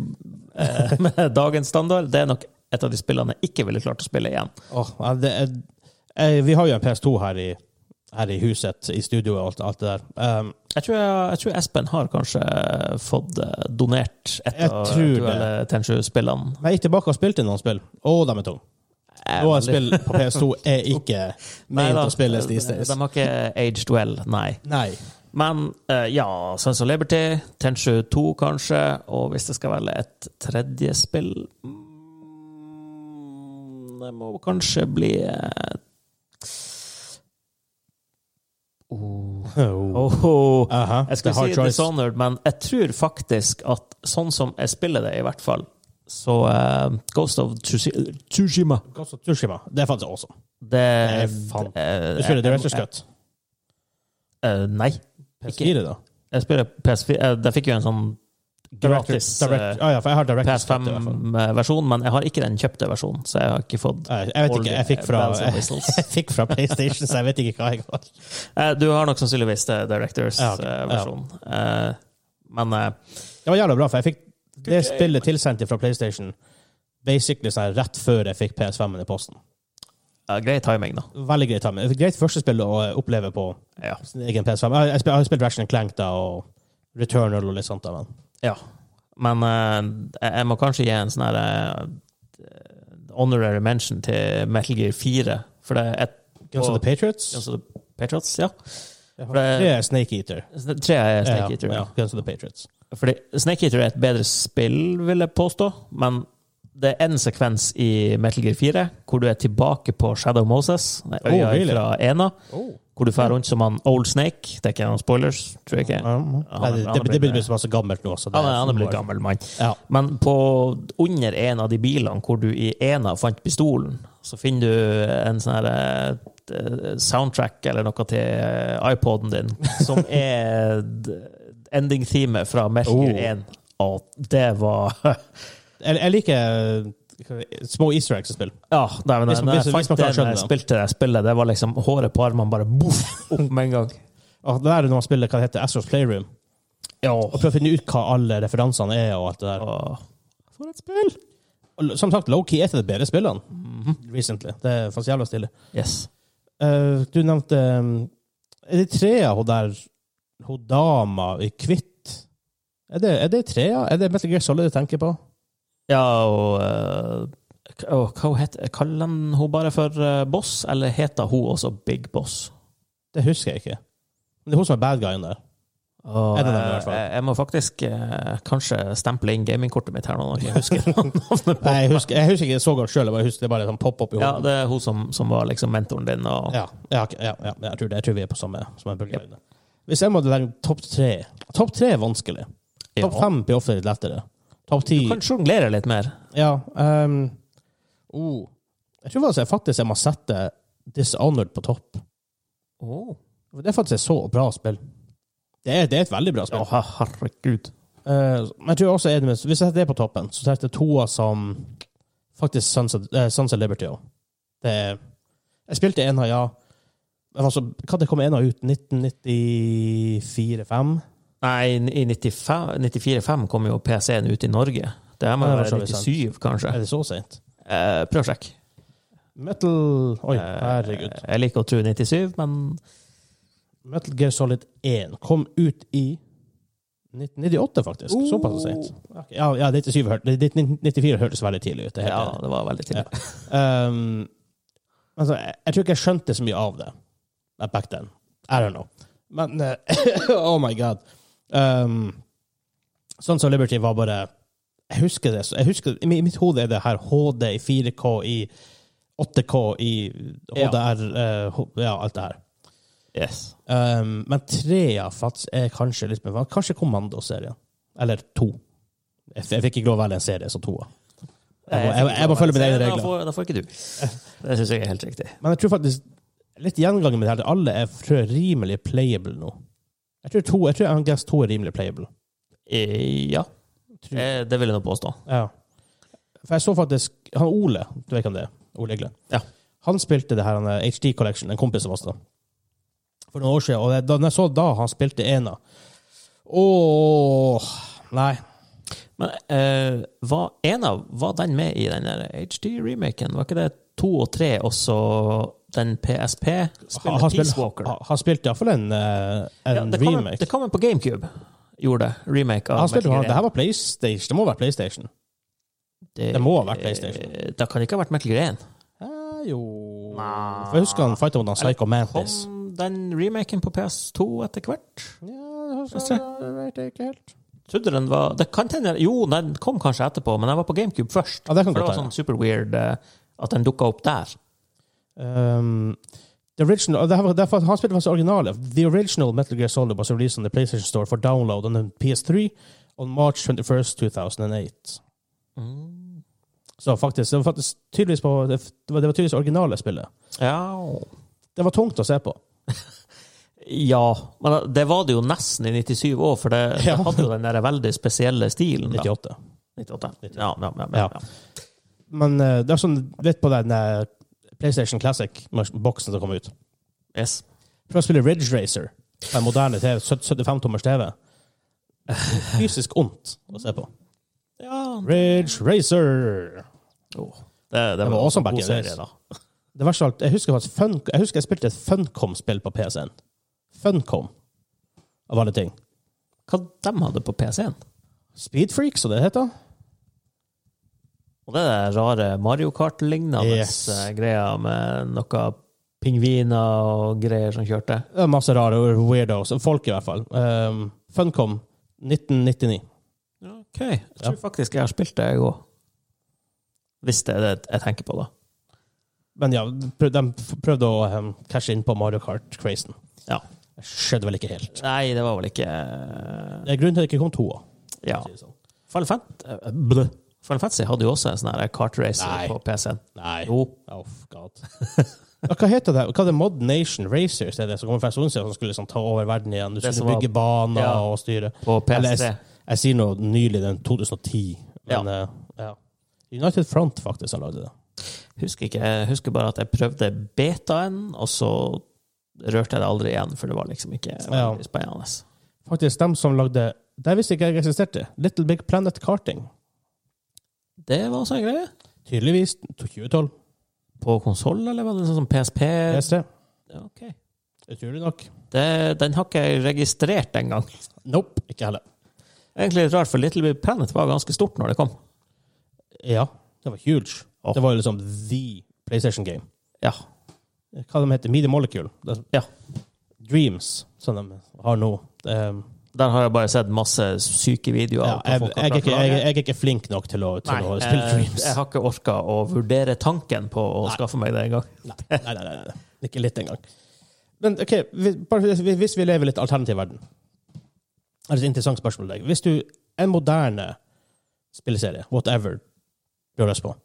[LAUGHS] med dagens standard. Det er nok et av de spillene jeg ikke ville klart å spille igjen.
Åh, ja, det er, eh, vi har jo en PS2 her i, her i huset, i studioet og alt, alt det der. Um,
Jeg tror, jeg, jeg tror Espen har kanskje fått eh, donert et
Jeg
av
tror det.
duelle Tenshu-spillene.
men jeg gikk tilbake og spilte noen spill. Å, de er tunge.
Eh,
Noen
veldig-
spill på
[LAUGHS]
PS2 er ikke
Nei
ment
da,
å spilles
de
these days.
har ikke aged well, nei.
Nei.
Men eh, ja, Sons of Liberty, Tenshu 2 kanskje, og hvis jeg skal velge et tredje spill mm, Det må kanskje bli eh, oh.
Oh.
Oh.
Aha,
Jeg
det er
skulle
hard
si
choice.
Dishonored, men jeg tror faktisk at sånn som jeg spiller det, i hvert fall, så eh, Ghost of Tsushi- Tsushima
Ghost of Tsushima. Det fant jeg også. Nei,
Det
faen.
eh,
Du spiller Director's
eh,
Cut.
eh, Nei. Ikke,
PS4, da?
jeg spiller PS4. eh, Der fikk jeg en sånn gratis
Director- Direct,
eh,
ah, ja, for jeg har Director's Cut. i hvert fall.
PS5-versjon, men jeg har ikke den kjøpte versjonen, så jeg har ikke fått
Nei, Jeg vet
all
ikke.
the
Jeg fikk fra,
bells and whistles.
[LAUGHS] jeg fikk fra PlayStation, så jeg vet ikke hva jeg har.
Eh, Du har nok sannsynligvis det Directors
Ja, ok.
eh,
Ja.
versjon. Eh, Men eh,
Det var jævla bra, for jeg fikk det spillet tilsendt fra PlayStation basically sånn rett før jeg fikk PS5-en i posten.
ja, grei timing, da.
Veldig greit timing. Et Greit første spill å eh, oppleve på
Ja.
sin egen PS5. Jeg, jeg, spil, jeg har spilt Ratchet Clank da, og Returnal og litt sånt. da, men
Ja. Men eh, jeg- jeg må kanskje gi en sånn her eh, honorary mention til Metal Gear 4. For det er et
Guns of the Patriots?
Guns of the Patriots, ja.
Jeg har
det-
Tre Snake Eater.
Tre er Snake Eater.
Ja, ja, Guns of the Patriots.
Fordi Snake Eater er et bedre spill, vil jeg påstå, men det er en sekvens i Metal Gear 4 hvor du er tilbake på Shadow Moses, nei,
Oh,
øya
really?
fra Ena,
Oh.
hvor du fer rundt som han Old Snake. Det er ikke noen spoilers, tror jeg ikke.
Nei, det, det, det begynner å bli så masse gammelt nå. Så det,
Han er, han er blitt gammel mann.
Ja.
Men på under en av de bilene hvor du i Ena fant pistolen, så finner du en sånn her eh, soundtrack eller noe til eh, iPoden din,
[LAUGHS]
som er ending-teamet fra Metal
Oh.
Gear 1. Og det var [LAUGHS]
Jeg, jeg liker eh, små easter eggs i spill.
Ja, nei, men
Hvis man-
når
hvis-
jeg
hvis man
fant
klarer å
det når jeg
skjønne
spilte det spillet, det var liksom håret på armene bare boff, opp med en gang.
Og det er når man spiller hva det heter, Astros Playroom,
Ja.
og prøver å finne ut hva alle referansene er. og alt det der.
Og,
For et spill! Og, som sagt, Low-Key er et av de bedre spillene recently. Det er faktisk jævla stille.
yes.
Eh, du nevnte um, Er det trea hun der Hun dama i hvitt? Er det, er det trea? Er det Metal Gear Solid du tenker på?
Ja, og eh, k- og hva hun heter Kaller han hun bare for eh, Boss, eller heter hun også Big Boss?
Det husker jeg ikke. Men det er hun som er bad guyen der.
Og,
Er det den, i
eh,
hvert fall?
Jeg, jeg må faktisk eh, kanskje stemple inn gamingkortet mitt her nå. når Jeg
[LAUGHS]
husker
Nei, jeg husker, jeg husker ikke det så godt sjøl, jeg bare husker det bare sånn pop opp i
Ja,
hodet.
det er hun som, som var liksom mentoren din. Og,
Ja, ja, ok, ja, ja, jeg, tror det, jeg tror vi er på samme, samme bølgelengde. Hvis jeg måtte legge topp tre Topp tre er vanskelig. Topp
Ja.
fem blir ofte litt lettere. Topp ti
Du kan sjonglere litt mer.
Ja. ehm, oh. Jeg tror faktisk jeg, faktisk jeg må sette Dishonored på topp. Det er faktisk et så bra spill. Det er, det er et veldig bra
Ja,
spill.
herregud.
Eh, men jeg tror også er det med, Hvis jeg setter det på toppen, så setter jeg toa som faktisk Sons of, eh, Sons of Liberty også. Det er- Jeg spilte ena, ja. Men altså, hva det kom ena ut? 1994-5?
Nei, i 94-5 kom jo PC-en ut i Norge. Det her må
Ja,
jo
det var
være
så vidt
97, kanskje.
Er det så seint?
Eh, prøv å sjekke.
Metal Oi,
Eh,
herregud.
Jeg liker å tro 97, men
Metal Gear Solid 1 kom ut i 1998, faktisk. Såpass sent. Ok, Ja, ja 97 hørte- 1994 hørtes veldig tidlig ut. Det er helt
Ja,
enig.
det var veldig tidlig.
Um, altså, jeg, jeg tror ikke jeg skjønte så mye av det eh, back then. I don't know. Men eh, [LAUGHS] Oh my god. Um, sånn som Liberty var bare Jeg husker det. så- Jeg husker, I mi- mitt hode er det her HD i 4K i 8K i
Ja.
HDR eh, ho- Ja, alt det her.
Yes.
Um, men trea faktisk er kanskje litt mer Kanskje Kommando-serien. Eller to. Jeg, f- jeg fikk ikke lov å velge en serie som toa. Jeg, må- jeg, jeg må følge mine egne
Da
regler.
får, da får ikke du.
[LAUGHS]
Det syns jeg er helt riktig.
Men jeg tror faktisk litt gjengangen med det her, at alle er tror jeg, rimelig playable nå. Jeg tror, to, jeg tror MGS 2 er rimelig playable.
Eh, Ja,
Tror,
eh, det vil jeg nå påstå.
ja. For jeg så faktisk han Ole, du vet hvem det er? Ole Egle.
Ja.
Han spilte det her, han er HD Collection, en kompis av oss, da. For noen år siden. Og det, da når jeg så da han spilte ena Åh Nei.
Men eh, var, en av, var den med i den der HD-remaken? Var ikke det to og tre også den PSP-spillet
Han
Peace
spilte,
Walker?
han- han spilte iallfall en, eh, en
Ja, det, kom,
remake.
det kom en på GameCube, gjorde det. Remake av
han spilte,
Metal
han,
Gear
det her var PlayStation. Det må være PlayStation.
1. det,
det må ha vært PlayStation.
eh, Da kan det ikke ha vært Metal Gear 1.
Eh, jo For Jeg husker han fighta mot han Psycho Mantis.
Kom den remaken på PS2 etter hvert.
Ja,
Skal vi
altså,
se.
jeg vet ikke helt.
Trodde den var det kan hende, Jo, den kom kanskje etterpå, men den var på GameCube først.
Ja, det kan
For det
godt
var
være.
sånn super weird eh, at den dukka opp der.
Um, the original, og det her var, derfor, han spilte faktisk originale. The original Metal Gear Solid was released on the PlayStation Store for download on the PS3 on March 21st, 2008.
Mm.
Så faktisk, det var faktisk tydeligvis på, det var, det var tydeligvis originale spillet.
Ja.
Det var tungt å se på.
ja. Men eh, det var det jo nesten i 97 òg, for [LAUGHS] det,
Ja.
det hadde jo den der veldig spesielle stilen. da.
98.
98. Ja, ja, ja,
Ja.
ja, ja.
Men eh, det er sånn litt på den eh, PlayStation Classic-boksen som kom ut.
Yes.
Prøv å spille Ridge Racer på en moderne TV, 75-tommers TV. [LAUGHS] Fysisk ondt å se på.
Ja,
Ridge Racer!
jo. Oh. Det, det,
var
var
også
også en
back in
god
the days.
serie, da.
Det verste av alt, jeg husker faktisk Fun, jeg husker jeg spilte et Funcom-spill på PC-en. Funcom, av alle ting.
Hva de hadde på PC-en?
Speedfreak, som det heter.
Og det er den rare Mario Kart-lignende
Yes.
eh, greia med noe pingviner og greier som kjørte.
Det er masse rare weirdos. Folk, i hvert fall. Um, Funcom 1999.
OK. Jeg tror faktisk jeg har spilt det, jeg òg. Hvis det er det jeg tenker på, da.
Men ja, prøv- de f- prøvde å um, cashe inn på Mario Kart-crazen.
Ja.
Det Skjedde vel ikke helt.
Nei, det var vel ikke eh,
Det er grunnen til at det ikke kom to.
Ja.
for å si det sånn. eh,
Final Fantasy, blø. Final Fantasy hadde jo også en sånn her
Nei.
kartracer på PC-en.
Nei.
Jo.
Oh, God.
[LAUGHS]
Ja, Hva heter det? Hva er det Mod Nation Racers er det som kommer fra Sonsia, som skulle liksom ta over verden igjen? Du
Det
skulle
som var-
bygge baner
Ja.
og styre.
På
Eller
PS3.
jeg, jeg sier noe nylig, den 2010. Men, eh, ja. United Front faktisk har lagd det.
Husker ikke, jeg husker bare at jeg prøvde betaen, og så rørte jeg det aldri igjen, for det var liksom ikke
Ja.
veldig spennende.
Faktisk dem som lagde Det visste ikke jeg eksisterte. Little Big Planet Karting.
Det var også en greie.
Tydeligvis 2012.
På konsoll, eller var det sånn som PSP?
PS3.
Ja, ok.
Utrolig nok.
Det, den har ikke jeg registrert engang.
Nope. Ikke heller.
Egentlig litt rart, for Little Big Planet var ganske stort når det kom.
Ja, det var huge.
Ja.
Det var jo liksom the PlayStation game.
Ja.
Hva de heter Media Molecule. Det-
Ja.
Dreams, som de har nå. Det, um,
Der har jeg bare sett masse syke videoer.
ja,
av hva
jeg, jeg,
folk har
er
klart
ikke,
å
jeg,
lage.
jeg er ikke flink nok til å, til
Nei,
å spille
jeg,
Dreams.
jeg har ikke orka å vurdere tanken på å
Nei.
skaffe meg det engang.
Nei, nei, nei, nei, nei. Ikke litt engang. Men ok, hvis, bare hvis, hvis vi lever i litt alternativ verden Er det et interessant spørsmål til deg. Hvis du en moderne spilleserie, whatever, du har lyst på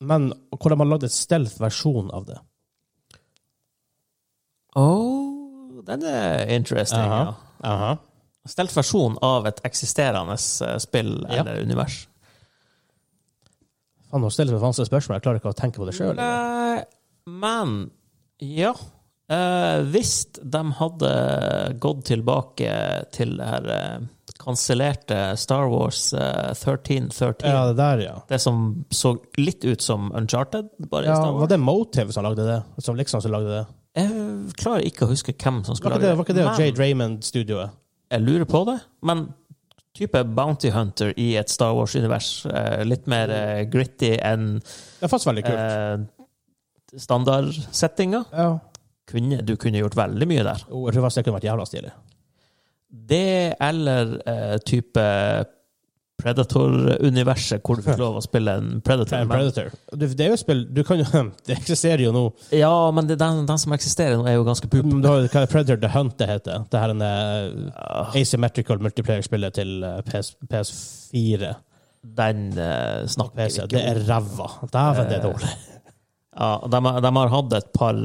Men hvordan man lagde et stealth-versjon av det
Oh, den er interesting.
Aha.
ja. Stelt versjon av et eksisterende eh, spill
Ja.
eller univers.
Faen, nå stiller jeg meg vanskelige spørsmål. Jeg klarer ikke å tenke på det sjøl.
Nei, men ja. Eh, hvis de hadde gått tilbake til det her eh, kansellerte Star Wars eh, 1313,
Ja, det der, ja.
det som så litt ut som Uncharted bare i
ja.
Star
Var
Wars
det Motive som lagde det? Som liksom som lagde det?
Jeg klarer ikke å huske hvem
Var
som skulle
ikke det,
lage
var ikke det
men-
Jade Raymond-studioet?
Jeg lurer på det, men type Bounty Hunter i et Star Wars-univers, eh, litt mer eh, gritty enn
Det er faktisk veldig kult.
eh, standardsettinga,
ja.
kunne, du kunne gjort veldig mye der.
Jo, jeg tror faktisk det kunne vært jævla stilig.
Det eller eh, type Predator-universet, hvor du
[LAUGHS]
fikk lov å spille en Predator.
Time
Men,
Predator. Du, det er jo et spill du kan jo, [LAUGHS] Det eksisterer jo nå.
ja, men det, den, den som eksisterer nå, er jo ganske pup.
Du har, hva er Predator The Hunt det heter? Det her er en eh, asymmetrical multiplayer-spillet til eh, PS, PS4
Den eh,
og
snakker
PC.
vi ikke
Det er
om.
ræva. Dæven,
Eh.
det er dårlig.
Ja, de, har- de har hatt et par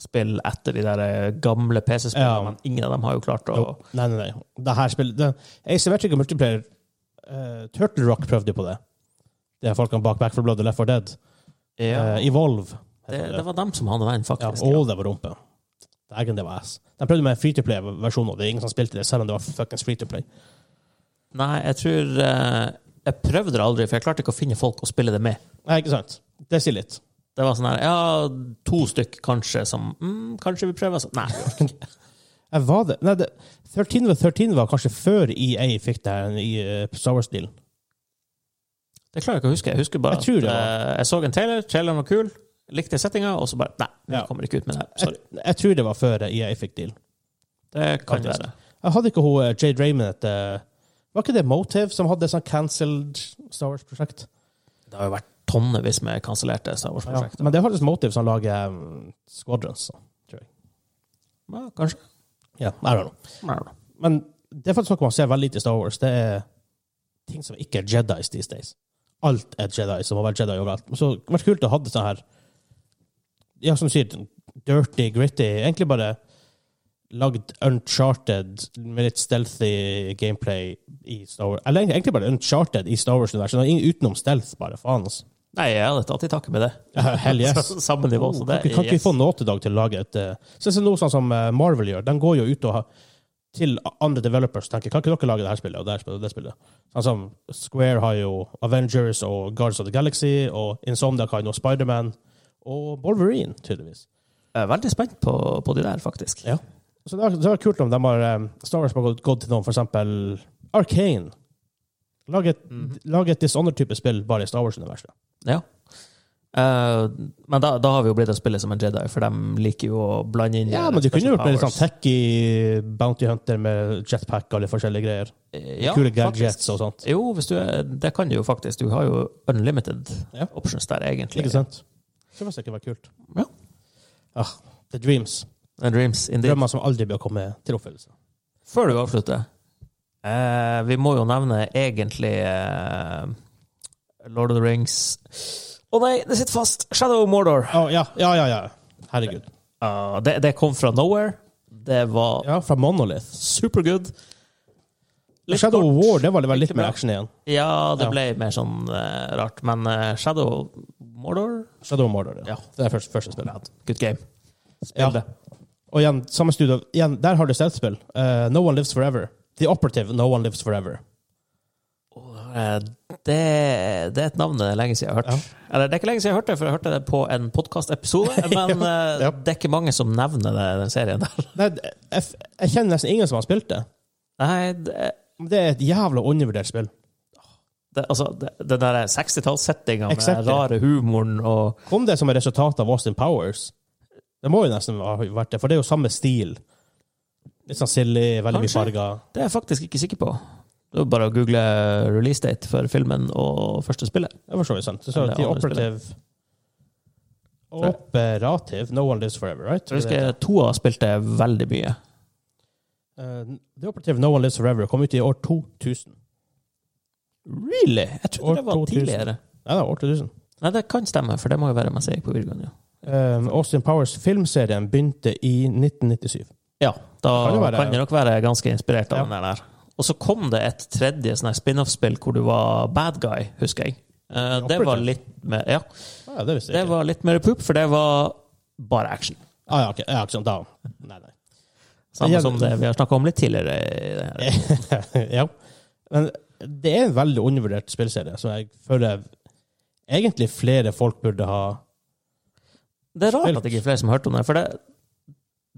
spill etter de der eh, gamle PC-spillene,
Ja.
men ingen av dem har jo klart å
Jo, Nei, nei, nei. Det her spillet det, Asymmetrical multiplayer eh, Turtle Rock prøvde jo på det. Det er folkene bak Back for Blood og Left for Dead.
Ja.
Eh, Evolve.
det,
heter
det var dem som hadde den,
Ja,
faktisk.
og det var rumpe. Dægen, det var ass. De prøvde med en free-to-play-versjon, og det er ingen som spilte det, selv om det var fuckings free-to-play.
Nei, jeg tror eh, Jeg prøvde det aldri, for jeg klarte ikke å finne folk å spille det med.
Nei, ikke sant? Det sier litt.
Det var sånn her Ja, to stykk kanskje som mm, Kanskje vi prøver sånn Nei.
Jeg Eh, var det. Nei, det, 13 var 13 var kanskje før EA fikk det her i eh, Star Wars-stilen.
Det klarer jeg ikke å huske. Jeg husker bare
Jeg tror det
at
var.
eh, jeg så en trailer. Traileren var kul. likte settinga, og så bare Nei, vi
Ja.
kommer ikke ut med det. her.
Jeg,
Sorry.
jeg tror det var før IA fikk deal.
Det kan
Faktisk.
være.
Jeg hadde ikke hun eh, Jade Raymond et eh, Var ikke det Motive som hadde sånn cancelled Star Wars-prosjekt?
Det har jo vært tonnevis med kansellerte Star
Ja,
Wars-prosjekter.
men det er faktisk Motive som lager um, Squadrons. Så.
Ja, kanskje.
Ja, I don't know.
Nei, da.
Men det er faktisk noe man ser veldig lite i Star Wars. Det er ting som ikke er Jedis these days. Alt er Jedi som har vært Jedi overalt. Så det hadde vært kult å ha sånn her Ja, som du sier, dirty, gritty. Egentlig bare lagd uncharted med litt stealthy gameplay i Star Wars. Eller egentlig bare uncharted i Star Wars-universet. Noe Utenom stealth, bare. Faen, altså.
Nei, jeg hadde tatt i takke med det. [LAUGHS]
Ja, hell [LAUGHS] yes.
Så- Samme nivå. Så det
kan ikke, kan ikke vi
yes.
få Naughty-Dog til å lage et uh, Se se noe sånn som eh, Marvel gjør. De går jo ut og har til andre developers tenker kan ikke dere lage det her spillet og det her spillet og det spillet. Sånn som Square har jo Avengers og Guards of the Galaxy, og Insomniac har jo nå Spiderman og Wolverine, tydeligvis.
Jeg er veldig spent på, på de der, faktisk.
Ja. Så det er, det er kult om de har eh, Star Wars har gått, gått til noen, for eksempel Arcane. Lag et,
Mhm.
lag et Dishonored-type spill bare i Star Wars-universet.
Ja. Eh, men da, da har vi jo blitt å spille som en Jedi, for de liker jo å blande inn
Ja,
eh,
men du kunne
special
gjort med litt sånn
powers.
techy bounty hunter med jetpack og litt forskjellige greier.
ja,
Kule
faktisk.
gadgets og sånt.
Jo, hvis du er, det kan du jo faktisk. Du har jo unlimited
Ja.
options der, egentlig.
Ikke sant? Det var sikkert vært kult.
Ja.
Ah, the dreams.
And dreams, indeed.
Drømmer som aldri bør komme til oppfyllelse.
Før du avslutter, eh, vi må jo nevne egentlig eh, Lord of the Rings Å nei, det sitter fast! Shadow of Mordor.
Å, ja, ja, ja, ja. Herregud.
Ah, det, det kom fra nowhere. Det var
Ja, fra Monolith.
supergood. Litt
Shadow
kort.
of War, det var vel litt
Ikke
mer
bra.
action igjen.
Ja, det
Ja.
ble mer sånn eh, rart. Men eh, Shadow Mordor
Shadow of Mordor, ja.
Ja.
Det er første, første spillet.
Good game.
Ja.
det.
Og igjen, samme studio. Igjen, der har du stealth-spill. Eh, no One Lives Forever. The Operative No One Lives Forever.
Eh, Det, det er et navn det er lenge siden jeg har hørt. Eller det er ikke lenge siden jeg har hørt det, for jeg hørte det på en
[LAUGHS]
podkastepisode. Men eh,
Ja.
det er ikke mange som nevner det, den serien der. [LAUGHS]
Nei, jeg, jeg kjenner nesten ingen som har spilt det.
Nei, det,
Men Det er et jævla undervurdert spill.
det, altså, det, den der 60-tallssettinga med
Exactly.
rare humoren og
Kom det som et resultat av Austin Powers? Det må jo nesten ha vært det, for det er jo samme stil. Litt sånn silly, veldig mye
Kanskje.
farger.
Det er jeg faktisk ikke sikker på. Det er bare å google releasedate for filmen og første spillet.
Det var så vidt sant. Så
Eller
The
andre
Operative Operative No One Lives Forever, right?
Jeg husker toa spilte veldig mye.
Eh, The Operative No One Lives Forever kom ut i år 2000.
Really? Jeg
År
trodde det var
2000.
tidligere.
Nei, det var år 2000.
Nei, det kan stemme, for det må jo være mens jeg gikk på videregående. ja.
Eh, Austin Powers filmserien begynte i 1997.
Ja,
Det kan
da kan,
jo være-
det nok være ganske inspirert av
Ja.
den der. Og så kom det et tredje sånn her spin-off-spill hvor du var bad guy, husker jeg. Eh, det var
Operative.
litt mer Ja,
Ja, det visste jeg
det
ikke.
var litt mer poop, for det var bare action.
Ah, ja, ok. ja, ikke sant. Da. Nei, nei.
Samme
Jeg-
som det vi har snakka om litt tidligere. i det her.
ja. Men det er en veldig undervurdert spillserie, som jeg føler egentlig flere folk burde ha
Det er rart
Spilt.
at det ikke er flere som har hørt om det, for det,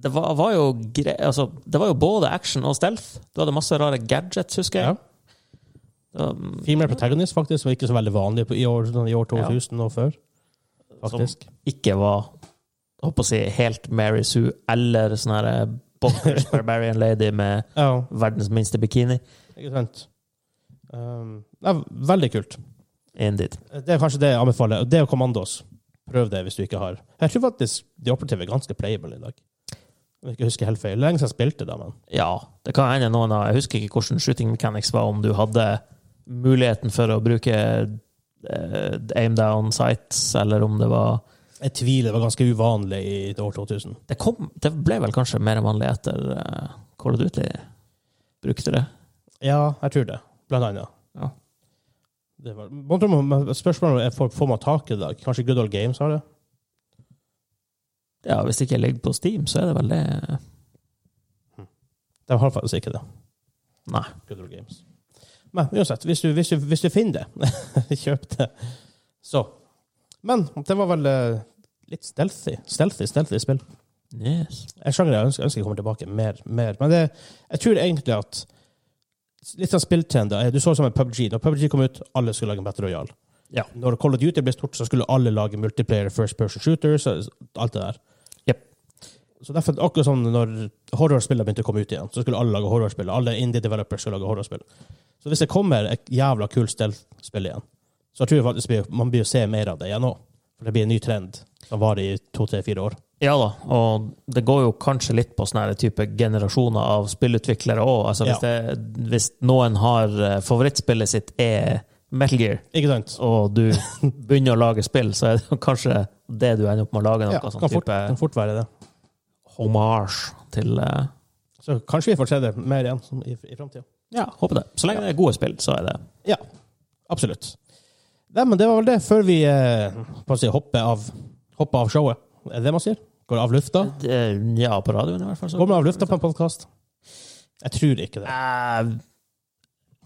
det, var, var jo gre altså, det var jo både action og stealth. Du hadde masse rare gadgets, husker jeg.
Ja.
Um,
Female protagonist, faktisk, var ikke så veldig vanlig på, i, år, sånn i år 2000 og før. Faktisk.
ikke var jeg håper å si, helt Mary Sue eller sånn her eh, bonkers Barbarian Lady med
Ja,
verdens minste bikini.
ikke sant. Um, det er veldig kult.
Indeed.
Det er kanskje det jeg anbefaler. og Det er Commandos. Prøv det hvis du ikke har. Jeg tror faktisk de operative er ganske playable i dag. Om jeg ikke husker helt feil. Lenge siden jeg spilte da, men
Ja, det kan hende noen av Jeg husker ikke hvordan shooting mechanics var, om du hadde muligheten for å bruke eh, aim down sights, eller om det var
jeg tviler. Det var ganske uvanlig i år 2000.
Det, kom, det ble vel kanskje mer vanlig etter uh, Call of Duty brukte det.
Ja, jeg tror det. Blant annet.
Ja.
Det var, Man tror man- spørsmålet er får, får man tak i det. da? Kanskje Good Old Games har det?
Ja, Hvis det ikke ligger på Steam, så er det vel det
De har faktisk ikke det.
Nei.
Good Old Games. Men uansett, hvis du, hvis du, hvis du finner det, [LAUGHS] kjøp det. Så. Men det var vel eh, litt stealthy. Stealthy, stealthy spill.
Yes.
En sjanger jeg ønsker, ønsker jeg kommer tilbake mer. mer. Men det, jeg tror egentlig at litt sånn spilltrender er- Du så det som en PubG. Når PubG kom ut, alle skulle lage en Battle Royale.
Ja.
Når Call of Duty ble stort, så skulle alle lage multiplayer first person shooters. og Alt det der.
Jep.
Så derfor, akkurat sånn når horrorspillene begynte å komme ut igjen, så skulle alle lage horrorspill. Alle indie developers skulle lage horrorspill. Så hvis det kommer et jævla kult stealth-spill igjen, så tror jeg faktisk blir- man blir å se mer av det igjen nå. For det blir en ny trend som varer i to, tre, fire år.
Ja da, og det går jo kanskje litt på sånne her type generasjoner av spillutviklere òg. Altså, hvis, det- hvis noen har eh, favorittspillet sitt er Metal Gear,
Ikke sant?
og [LAUGHS] du begynner å lage spill, så er det kanskje det du ender opp med å lage noe
Ja, kan
sånn
fort,
type
kan fort være det.
hommage til eh,
Så kanskje vi får se det mer igjen som i, i framtida.
Ja, håper det. Så lenge det er gode spill, så er det
Ja, absolutt. Nei, men det var vel det, før vi eh, på å si, hopper, av, hopper av showet. Er det det man sier? Går av lufta?
Det- Ja, på radioen i hvert fall. så-
Går man av lufta på en podkast? Jeg tror ikke det.
Eh,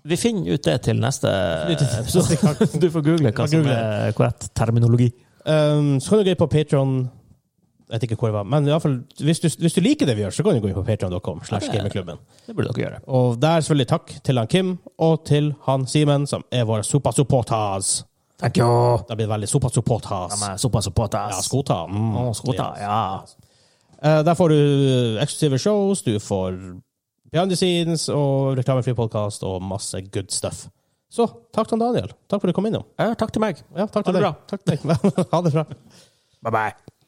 Vi finner ut det til neste
[LAUGHS] Så,
episode. [LAUGHS] Du får google hva
Jeg
som
googler.
er korrekt terminologi.
um, så kan du gå inn på Patron. Jeg vet ikke hvor det var, men i alle fall, hvis, du, hvis du liker det vi gjør, så kan du gå inn på patreon.com slash
Ja, det-
gamingklubben.
Det burde dere gjøre.
Og der selvfølgelig takk til han Kim og til han Simen, som er våre supasupportas.
Thank you.
Det blir veldig supasupportas.
De er såpass supporters.
Ja, skota. Mm.
Å, skota, ja.
Eh, Der får du eksklusive shows, du får behind the scenes og reklamefri podkast og masse good stuff. Så takk til han Daniel. Takk for at du kom innom.
ja. Takk til meg.
Ja, takk til
Ha det
[LAUGHS] deg. Takk til deg. ha det bra.
Bye bye.